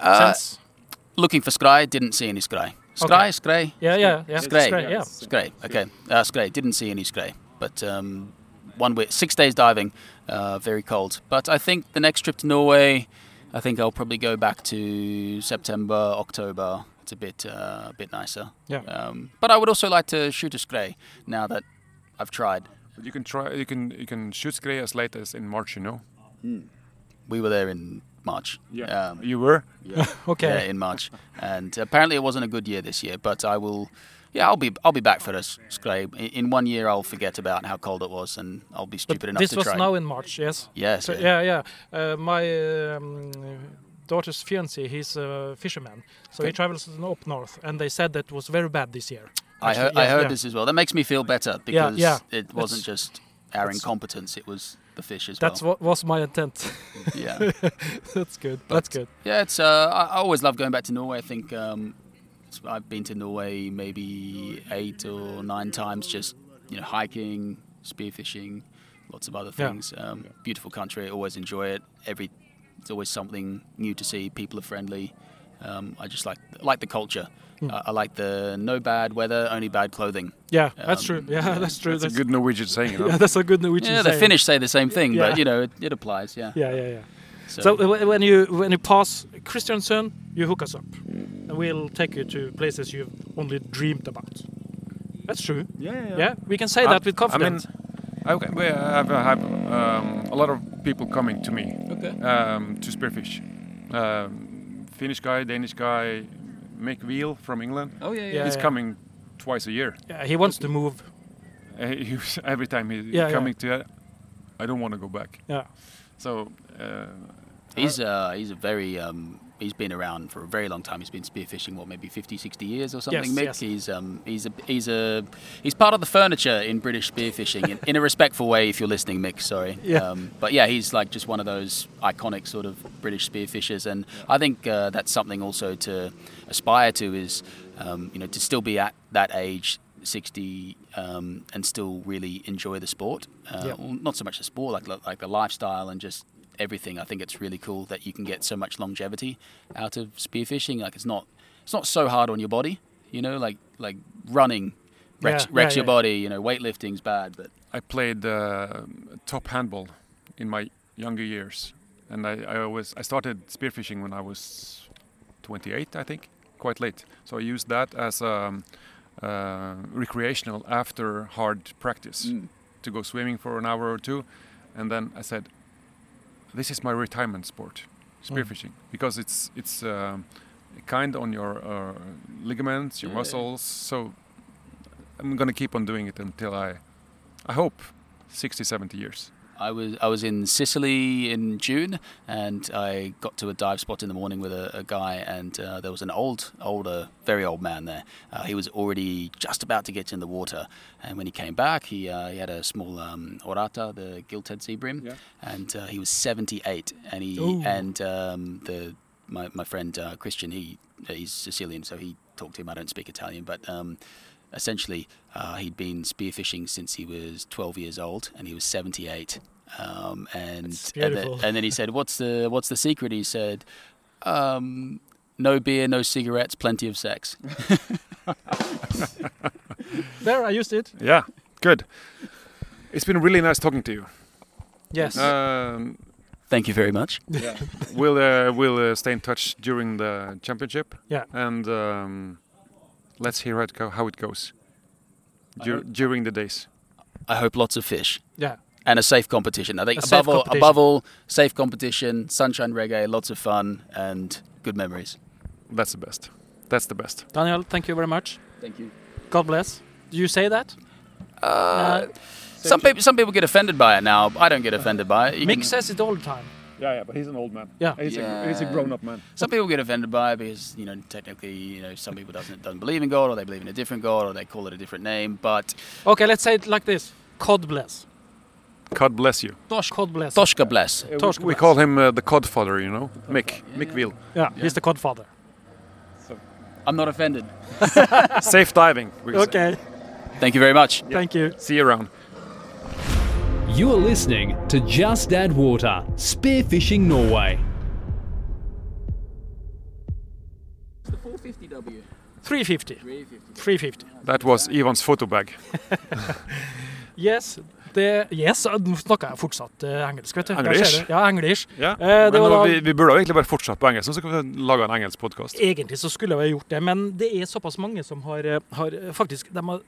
[SPEAKER 4] Uh,
[SPEAKER 2] sense
[SPEAKER 4] looking for Sky, didn't see any Sky. Sky,
[SPEAKER 2] Okay.
[SPEAKER 4] Sky,
[SPEAKER 2] yeah yeah yeah
[SPEAKER 4] Skrei.
[SPEAKER 2] Skrei, yeah
[SPEAKER 4] Sky. Okay, uh, Sky, didn't see any Sky. But um, one week, six days diving, uh, very cold. But I think the next trip to Norway, I think I'll probably go back to September, October. It's a bit uh, a bit nicer.
[SPEAKER 2] Yeah.
[SPEAKER 4] Um, but I would also like to shoot a Sky now that I've tried.
[SPEAKER 1] You can try. You can you can shoot Skrei as late as in March. You know.
[SPEAKER 4] We were there in March. Um,
[SPEAKER 1] you were.
[SPEAKER 2] okay
[SPEAKER 4] uh, yeah, in March. And apparently, it wasn't a good year this year, but I will, Yeah, I'll be I'll be back for this, Scrape. In- In one year, I'll forget about how cold it was, and I'll be stupid enough
[SPEAKER 2] this
[SPEAKER 4] to
[SPEAKER 2] was
[SPEAKER 4] try.
[SPEAKER 2] now in March, yes.
[SPEAKER 4] yes,
[SPEAKER 2] So,
[SPEAKER 4] yeah.
[SPEAKER 2] yeah, yeah. Uh, my um, daughter's fiance, he's a fisherman, so he
[SPEAKER 4] Okay.
[SPEAKER 2] travels up north, and they said that was very bad this year.
[SPEAKER 4] I heard,
[SPEAKER 2] Actually,
[SPEAKER 4] I
[SPEAKER 2] yeah,
[SPEAKER 4] heard
[SPEAKER 2] yeah.
[SPEAKER 4] this as well. That makes me feel better because
[SPEAKER 2] yeah.
[SPEAKER 4] it wasn't
[SPEAKER 2] It's-
[SPEAKER 4] just our
[SPEAKER 2] it's-
[SPEAKER 4] incompetence; it was the fish as
[SPEAKER 2] That's
[SPEAKER 4] well.
[SPEAKER 2] what was my intent.
[SPEAKER 4] yeah,
[SPEAKER 2] That's good. That's
[SPEAKER 4] But-
[SPEAKER 2] good.
[SPEAKER 4] yeah. It's uh, I, I always love going back to Norway. I think um, it's- I've been to Norway maybe eight or nine times, just you know, hiking, spearfishing, lots of other
[SPEAKER 2] Yeah.
[SPEAKER 4] things. Um, Beautiful country. Always enjoy it. Every it's always something new to see. People are friendly. Um, I just like like the culture.
[SPEAKER 2] Hmm.
[SPEAKER 4] I, I like the no bad weather, only bad clothing.
[SPEAKER 2] Yeah, that's true.
[SPEAKER 4] Um,
[SPEAKER 2] Yeah, that's true.
[SPEAKER 1] That's a good Norwegian saying. You know?
[SPEAKER 2] yeah, that's a good Norwegian
[SPEAKER 4] Yeah, the
[SPEAKER 2] saying.
[SPEAKER 4] Finnish say the same thing,
[SPEAKER 2] Yeah.
[SPEAKER 4] but you know it, it applies. Yeah.
[SPEAKER 2] Yeah, yeah, yeah.
[SPEAKER 4] So,
[SPEAKER 2] So uh, when you when you pass Kristiansund, you hook us up, and we'll take you to places you've only dreamed about. That's true. Yeah, we can say
[SPEAKER 1] Um, I-
[SPEAKER 2] that with confidence.
[SPEAKER 1] I mean, okay, we have, I have um, a lot of people coming to me
[SPEAKER 2] okay.
[SPEAKER 1] um, to spearfish. Um, Finnish guy, Danish guy, Mick Wheel from England.
[SPEAKER 5] Oh yeah,
[SPEAKER 2] Yeah.
[SPEAKER 1] He's coming twice a year.
[SPEAKER 2] Yeah, he wants to move.
[SPEAKER 1] Uh, he was- every time he's
[SPEAKER 2] Yeah, yeah.
[SPEAKER 1] coming to it, I don't want to go back.
[SPEAKER 2] Yeah.
[SPEAKER 1] So, uh,
[SPEAKER 4] he's uh, he's a very um, he's been around for a very long time. He's been spearfishing what maybe 50, 60 years or something.
[SPEAKER 2] Yes,
[SPEAKER 4] Mick.
[SPEAKER 2] yes.
[SPEAKER 4] He's um, he's a he's a he's part of the furniture in British spearfishing in, in a respectful way. If you're listening, Mick, sorry.
[SPEAKER 2] Yeah.
[SPEAKER 4] Um, but yeah, he's like just one of those iconic sort of British spearfishers, and I think uh, that's something also to aspire to is um, you know to still be at that age. 60 um, and still really enjoy the sport uh,
[SPEAKER 2] Yeah.
[SPEAKER 4] well, not so much the sport, like like the lifestyle and just everything. I think it's really cool that you can get so much longevity out of spearfishing. Like it's not it's not so hard on your body, you know. Like like running wrecks,
[SPEAKER 2] Yeah, yeah,
[SPEAKER 4] wrecks your
[SPEAKER 2] yeah.
[SPEAKER 4] body. You know, weightlifting's bad, but
[SPEAKER 1] I played uh, top handball in my younger years, and I, I always I started spearfishing when I was 28, I think, quite late. So I used that as um, uh, recreational after hard practice to go swimming for an hour or two, and then I said, "This is my retirement sport, spearfishing, because it's it's um, kind on your uh, ligaments, your
[SPEAKER 4] Yeah.
[SPEAKER 1] muscles. So I'm gonna keep on doing it until I, I hope, 60, 70 years.
[SPEAKER 4] I was I was in Sicily in June, and I got to a dive spot in the morning with a, a guy, and uh, there was an old, older, very old man there. Uh, he was already just about to get in the water, and when he came back, he uh, he had a small um, orata, the gilt-head sea bream,
[SPEAKER 1] Yeah.
[SPEAKER 4] and uh, he was 78, and he
[SPEAKER 2] Ooh.
[SPEAKER 4] and um, the my my friend uh, Christian, he he's Sicilian, so he talked to him. I don't speak Italian, but. Um, essentially uh, he'd been spearfishing since he was 12 years old and he was 78 um, and
[SPEAKER 2] That's
[SPEAKER 4] and,
[SPEAKER 2] beautiful.
[SPEAKER 4] then, and then he said what's the what's the secret he said um, no beer no cigarettes plenty of sex
[SPEAKER 2] There, I used it.
[SPEAKER 1] Yeah, good. It's been really nice talking to you.
[SPEAKER 2] Yes.
[SPEAKER 1] Um,
[SPEAKER 4] thank you very much
[SPEAKER 1] we'll uh, we'll uh, stay in touch during the championship.
[SPEAKER 2] Yeah.
[SPEAKER 1] And um, let's hear how it, go, how it goes
[SPEAKER 4] I
[SPEAKER 1] Dur-
[SPEAKER 4] hope-
[SPEAKER 1] during the days.
[SPEAKER 4] i hope lots of fish
[SPEAKER 2] yeah.
[SPEAKER 4] and a safe competition i think
[SPEAKER 2] A safe
[SPEAKER 4] above all
[SPEAKER 2] competition.
[SPEAKER 4] above all safe competition sunshine reggae lots of fun and good memories
[SPEAKER 1] That's the best. That's the best.
[SPEAKER 2] Daniel, thank you very much.
[SPEAKER 4] thank you
[SPEAKER 2] God bless. Do you say that?
[SPEAKER 4] uh, some people some people get offended by it now i don't get offended by it You
[SPEAKER 2] Mick
[SPEAKER 4] can-
[SPEAKER 2] says it all the time.
[SPEAKER 1] Yeah, yeah, but he's an old man.
[SPEAKER 2] Yeah.
[SPEAKER 1] He's, A, he's a
[SPEAKER 4] Yeah.
[SPEAKER 1] grown-up man.
[SPEAKER 4] Some people get offended by it because you know technically you know some people doesn't doesn't believe in God or they believe in a different God or they call it a different name. But
[SPEAKER 2] Okay, let's say it like this. God bless.
[SPEAKER 1] God bless you.
[SPEAKER 2] God bless.
[SPEAKER 4] Toshka bless.
[SPEAKER 1] Uh,
[SPEAKER 2] Torsk
[SPEAKER 1] we, we
[SPEAKER 2] bless.
[SPEAKER 1] call him uh, the Codfather, you know? Mick. Mick Wheel.
[SPEAKER 2] Yeah, he's the Godfather.
[SPEAKER 4] I'm not offended.
[SPEAKER 1] Safe diving. we can say.
[SPEAKER 2] Okay,
[SPEAKER 4] Thank you very much.
[SPEAKER 2] thank you.
[SPEAKER 1] See you around.
[SPEAKER 3] You are listening to Just Add Water, Spearfishing Norway.
[SPEAKER 5] 450W,
[SPEAKER 2] 350.
[SPEAKER 5] 350.
[SPEAKER 2] 350.
[SPEAKER 1] That was Ivan's photo bag.
[SPEAKER 2] Yes, det, yes, nå snakker jeg fortsatt eh, engelsk, vet du. Der
[SPEAKER 1] English?
[SPEAKER 2] ser du. Ja, english.
[SPEAKER 1] Ja.
[SPEAKER 2] Eh, det
[SPEAKER 1] Men
[SPEAKER 2] var
[SPEAKER 1] nå,
[SPEAKER 2] da-
[SPEAKER 1] vi, vi burde jo egentlig bare fortsatt på engelsk, så kan vi lage en engelsk podkast.
[SPEAKER 2] Egentlig så skulle jeg jo ha gjort det, men det er såpass mange som har, eh, har eh, faktisk de har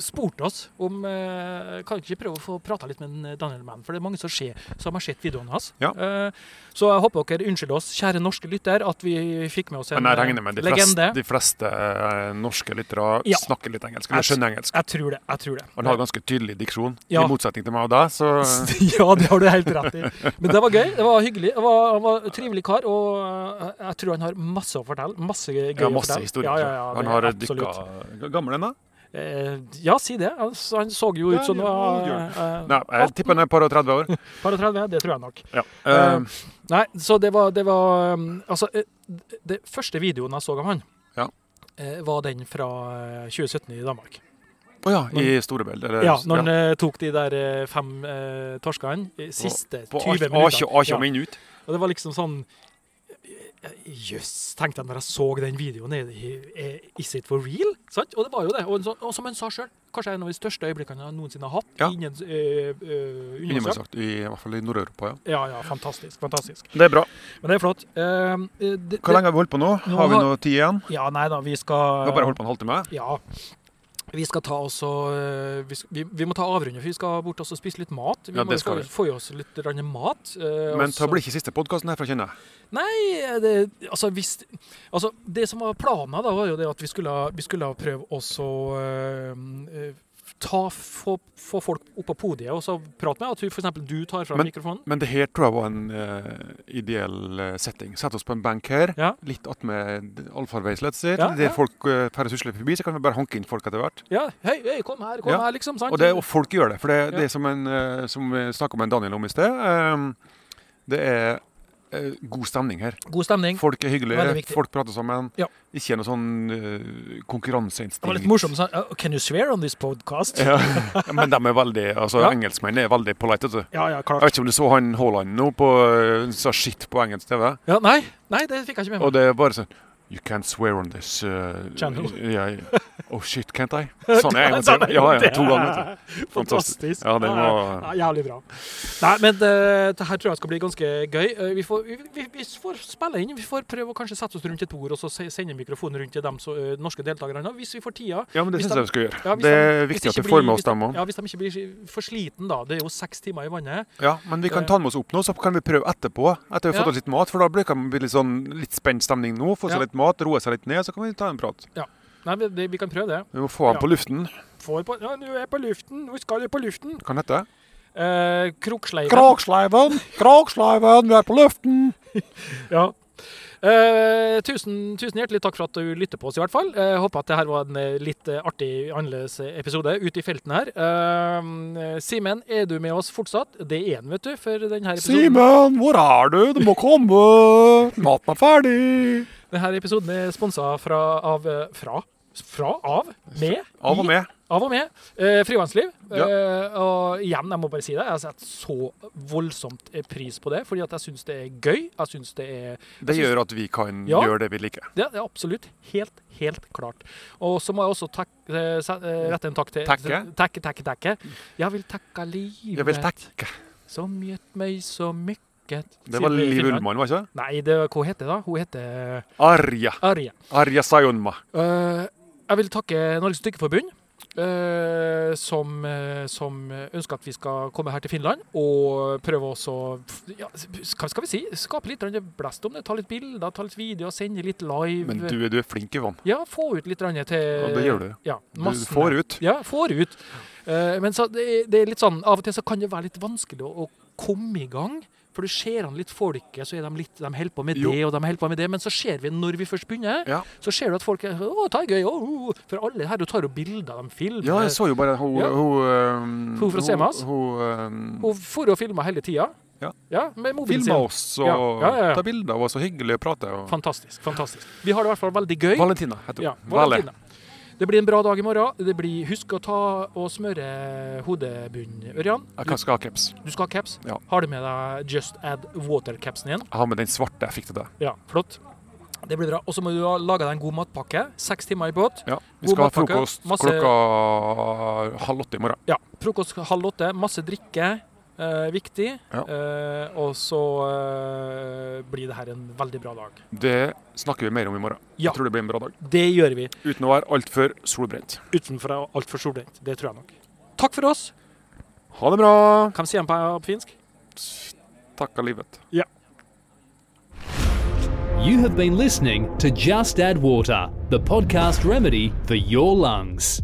[SPEAKER 2] spurte oss om eh, Kan ikke prøve å få prata litt med en Daniel Mann, for det er mange som, ser, som har sett videoene hans.
[SPEAKER 1] Ja.
[SPEAKER 2] Eh, så jeg håper dere unnskylder oss, kjære norske lytter, at vi fikk med oss en
[SPEAKER 1] Men jeg
[SPEAKER 2] eh,
[SPEAKER 1] regner med de fleste,
[SPEAKER 2] legende.
[SPEAKER 1] de fleste eh, norske lyttere
[SPEAKER 2] Ja.
[SPEAKER 1] snakker litt engelsk.
[SPEAKER 2] Jeg
[SPEAKER 1] Eller
[SPEAKER 2] s-
[SPEAKER 1] skjønner engelsk.
[SPEAKER 2] Jeg tror det. jeg tror det.
[SPEAKER 1] Han har ganske tydelig diksjon,
[SPEAKER 2] Ja.
[SPEAKER 1] i motsetning til meg og deg. Så
[SPEAKER 2] ja, det har du helt rett i. Men det var gøy. Det var hyggelig. Det var, han var en trivelig kar, og eh, jeg tror han har masse å fortelle. Masse gøy
[SPEAKER 1] jeg har
[SPEAKER 2] å
[SPEAKER 1] masse
[SPEAKER 2] fortelle.
[SPEAKER 1] historier.
[SPEAKER 2] Ja, ja, ja,
[SPEAKER 1] han
[SPEAKER 2] det-
[SPEAKER 1] har
[SPEAKER 2] absolutt.
[SPEAKER 1] dykka Gammel en, da?
[SPEAKER 2] Eh, ja, si det. Altså, han så jo ut
[SPEAKER 1] Ja,
[SPEAKER 2] som han
[SPEAKER 1] ja,
[SPEAKER 2] var
[SPEAKER 1] old
[SPEAKER 2] eh,
[SPEAKER 1] Nei, jeg tipper han er et par og 30 år.
[SPEAKER 2] par og 30, det tror jeg nok.
[SPEAKER 1] Ja.
[SPEAKER 2] Eh,
[SPEAKER 1] Eh,
[SPEAKER 2] Nei, så det var, det var um, Altså, eh, det første videoen jeg så av han,
[SPEAKER 1] Ja.
[SPEAKER 2] eh, var den fra eh, 2017 i Danmark.
[SPEAKER 1] Å ja, i Storebeld. Eller,
[SPEAKER 2] Ja, når han eh, tok de der eh, fem eh, torskene eh, siste
[SPEAKER 1] På
[SPEAKER 2] 20
[SPEAKER 1] A- A20
[SPEAKER 2] minutter.
[SPEAKER 1] A20 minut.
[SPEAKER 2] Og det var liksom sånn eh, Jøss, tenkte jeg når jeg så den videoen. Er det, er, is it for real? Sant? Og det var jo det. Og, en sånn- og som han sa sjøl, kanskje en av de største øyeblikkene jeg noensinne har hatt.
[SPEAKER 1] Ja.
[SPEAKER 2] Ingen eh, eh,
[SPEAKER 1] Innimellom
[SPEAKER 2] undersøkt.
[SPEAKER 1] sagt, I hvert fall i Nord-Europa, ja.
[SPEAKER 2] Ja, ja, fantastisk. fantastisk.
[SPEAKER 1] Det er bra.
[SPEAKER 2] Men det er flott. Eh, eh, det,
[SPEAKER 1] Hvor lenge har vi holdt på nå?
[SPEAKER 2] Nå
[SPEAKER 1] Har vi
[SPEAKER 2] har-
[SPEAKER 1] noe tid igjen?
[SPEAKER 2] Ja, nei da, vi
[SPEAKER 1] Vi
[SPEAKER 2] skal
[SPEAKER 1] har bare holdt på en halvtime.
[SPEAKER 2] Ja. Vi skal ta oss og eh, vi, sk- vi, vi må ta avrunde, for vi skal bort oss og spise litt mat. Vi
[SPEAKER 1] Ja,
[SPEAKER 2] må
[SPEAKER 1] det
[SPEAKER 2] jo få,
[SPEAKER 1] skal vi.
[SPEAKER 2] få i oss litt grann mat. eh, og
[SPEAKER 1] Men det
[SPEAKER 2] så-
[SPEAKER 1] blir ikke siste podkasten herfra, kjenner jeg.
[SPEAKER 2] Nei, det, altså, hvis, altså Det som var planen, da, var jo det at vi skulle, vi skulle prøve også eh, eh, ta, få, få folk opp på podiet og så prate med. At du, for eksempel du tar fra
[SPEAKER 1] Men-
[SPEAKER 2] mikrofonen.
[SPEAKER 1] Men det her tror jeg var en eh, ideell eh, setting. Sett oss på en benk her,
[SPEAKER 2] Ja.
[SPEAKER 1] litt attmed allfarveis, let's say.
[SPEAKER 2] Ja,
[SPEAKER 1] der
[SPEAKER 2] ja.
[SPEAKER 1] folk uh, færre susler forbi, så kan vi bare hanke inn folk etter hvert.
[SPEAKER 2] Ja, hei, hei, kom her, kom
[SPEAKER 1] Ja.
[SPEAKER 2] her, liksom. Sant?
[SPEAKER 1] Og, det, og folk gjør det. For det,
[SPEAKER 2] Ja.
[SPEAKER 1] det er som, en, eh, som vi snakka med Daniel om i sted. eh, det er eh, god stemning her.
[SPEAKER 2] God stemning.
[SPEAKER 1] Folk er
[SPEAKER 2] Veldig
[SPEAKER 1] hyggelige,
[SPEAKER 2] viktig.
[SPEAKER 1] folk prater sammen.
[SPEAKER 2] Ja.
[SPEAKER 1] Ikke noe sånn eh, konkurranseinstinkt.
[SPEAKER 2] Det var litt morsomt. Sånn, «Oh, can you swear on this podcast?
[SPEAKER 1] Ja. Men de er veldig, altså
[SPEAKER 2] Ja.
[SPEAKER 1] engelskmennene er veldig polite. vet du.
[SPEAKER 2] Ja, ja,
[SPEAKER 1] Jeg
[SPEAKER 2] klart.
[SPEAKER 1] vet ikke om du så han Haaland nå på øh, sa shit på engelsk TV.
[SPEAKER 2] Ja, nei, nei, det fikk jeg ikke med meg.
[SPEAKER 1] Og det er bare sånn You can't swear on this uh,
[SPEAKER 2] Channel.
[SPEAKER 1] yeah, yeah. Oh shit, can't I? Sånn er jeg. vet du. Ja, ja, to ganger. vet du.
[SPEAKER 2] Fantastisk.
[SPEAKER 1] Ja, det var-
[SPEAKER 2] Ja, jævlig bra. Nei, men det, det her tror jeg skal bli ganske gøy. Eh, Vi får, vi, vi, vi får spille inn. Vi får prøve å kanskje sette oss rundt et bord og så se- sende mikrofonen rundt til de så, eh, norske deltakerne. Og Hvis vi får tida.
[SPEAKER 1] Ja, men det
[SPEAKER 2] Hvis
[SPEAKER 1] syns
[SPEAKER 2] de-
[SPEAKER 1] jeg vi skal gjøre.
[SPEAKER 2] Ja, hvis
[SPEAKER 1] det
[SPEAKER 2] de-
[SPEAKER 1] er
[SPEAKER 2] hvis
[SPEAKER 1] viktig
[SPEAKER 2] ikke
[SPEAKER 1] at vi
[SPEAKER 2] blir-
[SPEAKER 1] får med
[SPEAKER 2] hvis
[SPEAKER 1] oss
[SPEAKER 2] de-
[SPEAKER 1] dem òg.
[SPEAKER 2] Ja, Hvis de ikke blir for sliten, da. Det er jo seks timer i vannet.
[SPEAKER 1] Ja, men vi kan ta med oss opp nå, så kan vi prøve etterpå. Etter vi har
[SPEAKER 2] Ja.
[SPEAKER 1] fått oss litt mat, for da blir det kan bli litt sånn litt spent stemning nå. Få
[SPEAKER 2] Ja.
[SPEAKER 1] seg litt mat, roe seg litt ned, så kan vi ta en prat.
[SPEAKER 2] Nei, vi, det, vi kan prøve det.
[SPEAKER 1] Vi må få
[SPEAKER 2] Ja.
[SPEAKER 1] han på luften.
[SPEAKER 2] Får på, ja, nå er jeg på luften. Nå skal jeg på luften.
[SPEAKER 1] Hva han heter
[SPEAKER 2] Eh, Kroksleiven.
[SPEAKER 1] Kraksleiven! Kraksleiven, vi er på luften!
[SPEAKER 2] Ja. Eh, tusen, tusen hjertelig takk for at du lytter på oss, i hvert fall. Eh, håper at det her var en eh, litt eh, artig, annerledes eh, episode ute i felten her. Eh, Simen, er du med oss fortsatt? Det er han, vet du, for denne episoden,
[SPEAKER 1] Simen, hvor er du? Du må komme! Maten er ferdig!
[SPEAKER 2] denne episoden er sponsa fra, av eh, Fra? Fra? Av? Med?
[SPEAKER 1] Av og
[SPEAKER 2] i-
[SPEAKER 1] med.
[SPEAKER 2] Av og med. Eh, Frivannsliv.
[SPEAKER 1] Ja.
[SPEAKER 2] Eh, og igjen, jeg må bare si det, jeg setter så voldsomt eh, pris på det, fordi at jeg syns det er gøy. Jeg syns det er
[SPEAKER 1] Det gjør at vi kan
[SPEAKER 2] Ja.
[SPEAKER 1] gjøre det vi liker.
[SPEAKER 2] Det er absolutt. Helt, helt klart. Og så må jeg også tak, eh, se- eh, rette en takk til
[SPEAKER 1] Takke?
[SPEAKER 2] Takke, takke, takke. Jeg vil takke livet
[SPEAKER 1] Jeg vil takke.
[SPEAKER 2] som gitt meg så mykket.
[SPEAKER 1] Det var
[SPEAKER 2] Sier vi i
[SPEAKER 1] Liv
[SPEAKER 2] Finland.
[SPEAKER 1] Ullmann, var det ikke?
[SPEAKER 2] Nei, det, hva heter det da? Hun heter eh,
[SPEAKER 1] Arja.
[SPEAKER 2] Arje.
[SPEAKER 1] Arja Sayonma.
[SPEAKER 2] Eh, jeg vil takke Norges Dykkerforbund. eh, som, eh, som ønsker at vi skal komme her til Finland og prøve også å f- ja, Hva skal vi si? Skape litt grann blest om det. Ta litt bilder, ta litt videoer, sende litt live.
[SPEAKER 1] Men du, du er flink, Ivan.
[SPEAKER 2] Ja, få ut litt grann til
[SPEAKER 1] Ja, det gjør du.
[SPEAKER 2] Ja,
[SPEAKER 1] Du
[SPEAKER 2] massen
[SPEAKER 1] får
[SPEAKER 2] her.
[SPEAKER 1] ut.
[SPEAKER 2] Ja, får ut. Eh, men så det, er- det er litt sånn, av og til så kan det være litt vanskelig å, å komme i gang. For du ser an litt folket, så er de litt, de holder på med
[SPEAKER 1] Jo.
[SPEAKER 2] det og de holder på med det. Men så ser vi når vi først begynner,
[SPEAKER 1] Ja.
[SPEAKER 2] så ser du at folk er Å, det er gøy. Å, å», for alle her du tar jo bilder, eh, de filmer.
[SPEAKER 1] Ja, jeg så jo bare hun
[SPEAKER 2] Ja.
[SPEAKER 1] Hun, øhm,
[SPEAKER 2] Hun fra Semas?
[SPEAKER 1] Hun, øhm,
[SPEAKER 2] Hun for og filma hele tida.
[SPEAKER 1] Ja.
[SPEAKER 2] med mobilen
[SPEAKER 1] filma
[SPEAKER 2] sin.
[SPEAKER 1] oss
[SPEAKER 2] Ja,
[SPEAKER 1] og
[SPEAKER 2] ja, ja, ja.
[SPEAKER 1] ta bilder av oss og hyggelig å prate. Og...
[SPEAKER 2] Fantastisk. fantastisk. Vi har det i hvert fall veldig gøy.
[SPEAKER 1] Valentina heter hun.
[SPEAKER 2] Ja,
[SPEAKER 1] Vale.
[SPEAKER 2] Valentina. Det blir en bra dag i morgen. Det blir, husk å ta og smøre hodebunnen, Ørjan.
[SPEAKER 1] Jeg kan skal ha caps.
[SPEAKER 2] Du skal ha caps.
[SPEAKER 1] Ja.
[SPEAKER 2] Har du med deg Just Add Water-capsen igjen?
[SPEAKER 1] Jeg har med den svarte jeg fikk til deg.
[SPEAKER 2] Ja, flott. Det blir bra. Og så må du ha laga deg en god matpakke. Seks timer i båt.
[SPEAKER 1] Ja. Vi
[SPEAKER 2] God
[SPEAKER 1] skal ha
[SPEAKER 2] matpakke,
[SPEAKER 1] frokost
[SPEAKER 2] masse-
[SPEAKER 1] klokka halv åtte i morgen.
[SPEAKER 2] Ja, Frokost halv åtte, masse drikke. eh, eh, viktig.
[SPEAKER 1] Ja.
[SPEAKER 2] Eh, og så eh, blir det her en veldig bra dag.
[SPEAKER 1] Det snakker vi mer om i morgen.
[SPEAKER 2] Ja.
[SPEAKER 1] Jeg tror det blir en bra dag.
[SPEAKER 2] Det gjør vi
[SPEAKER 1] Uten å være altfor solbrent.
[SPEAKER 2] utenfor altfor solbrent. Det tror jeg nok. Takk for oss.
[SPEAKER 1] Ha det bra!
[SPEAKER 2] Hva sier man på på finsk?
[SPEAKER 1] Takk av livet.
[SPEAKER 3] You have been listening to Just Add Water, the podcast remedy for your lungs.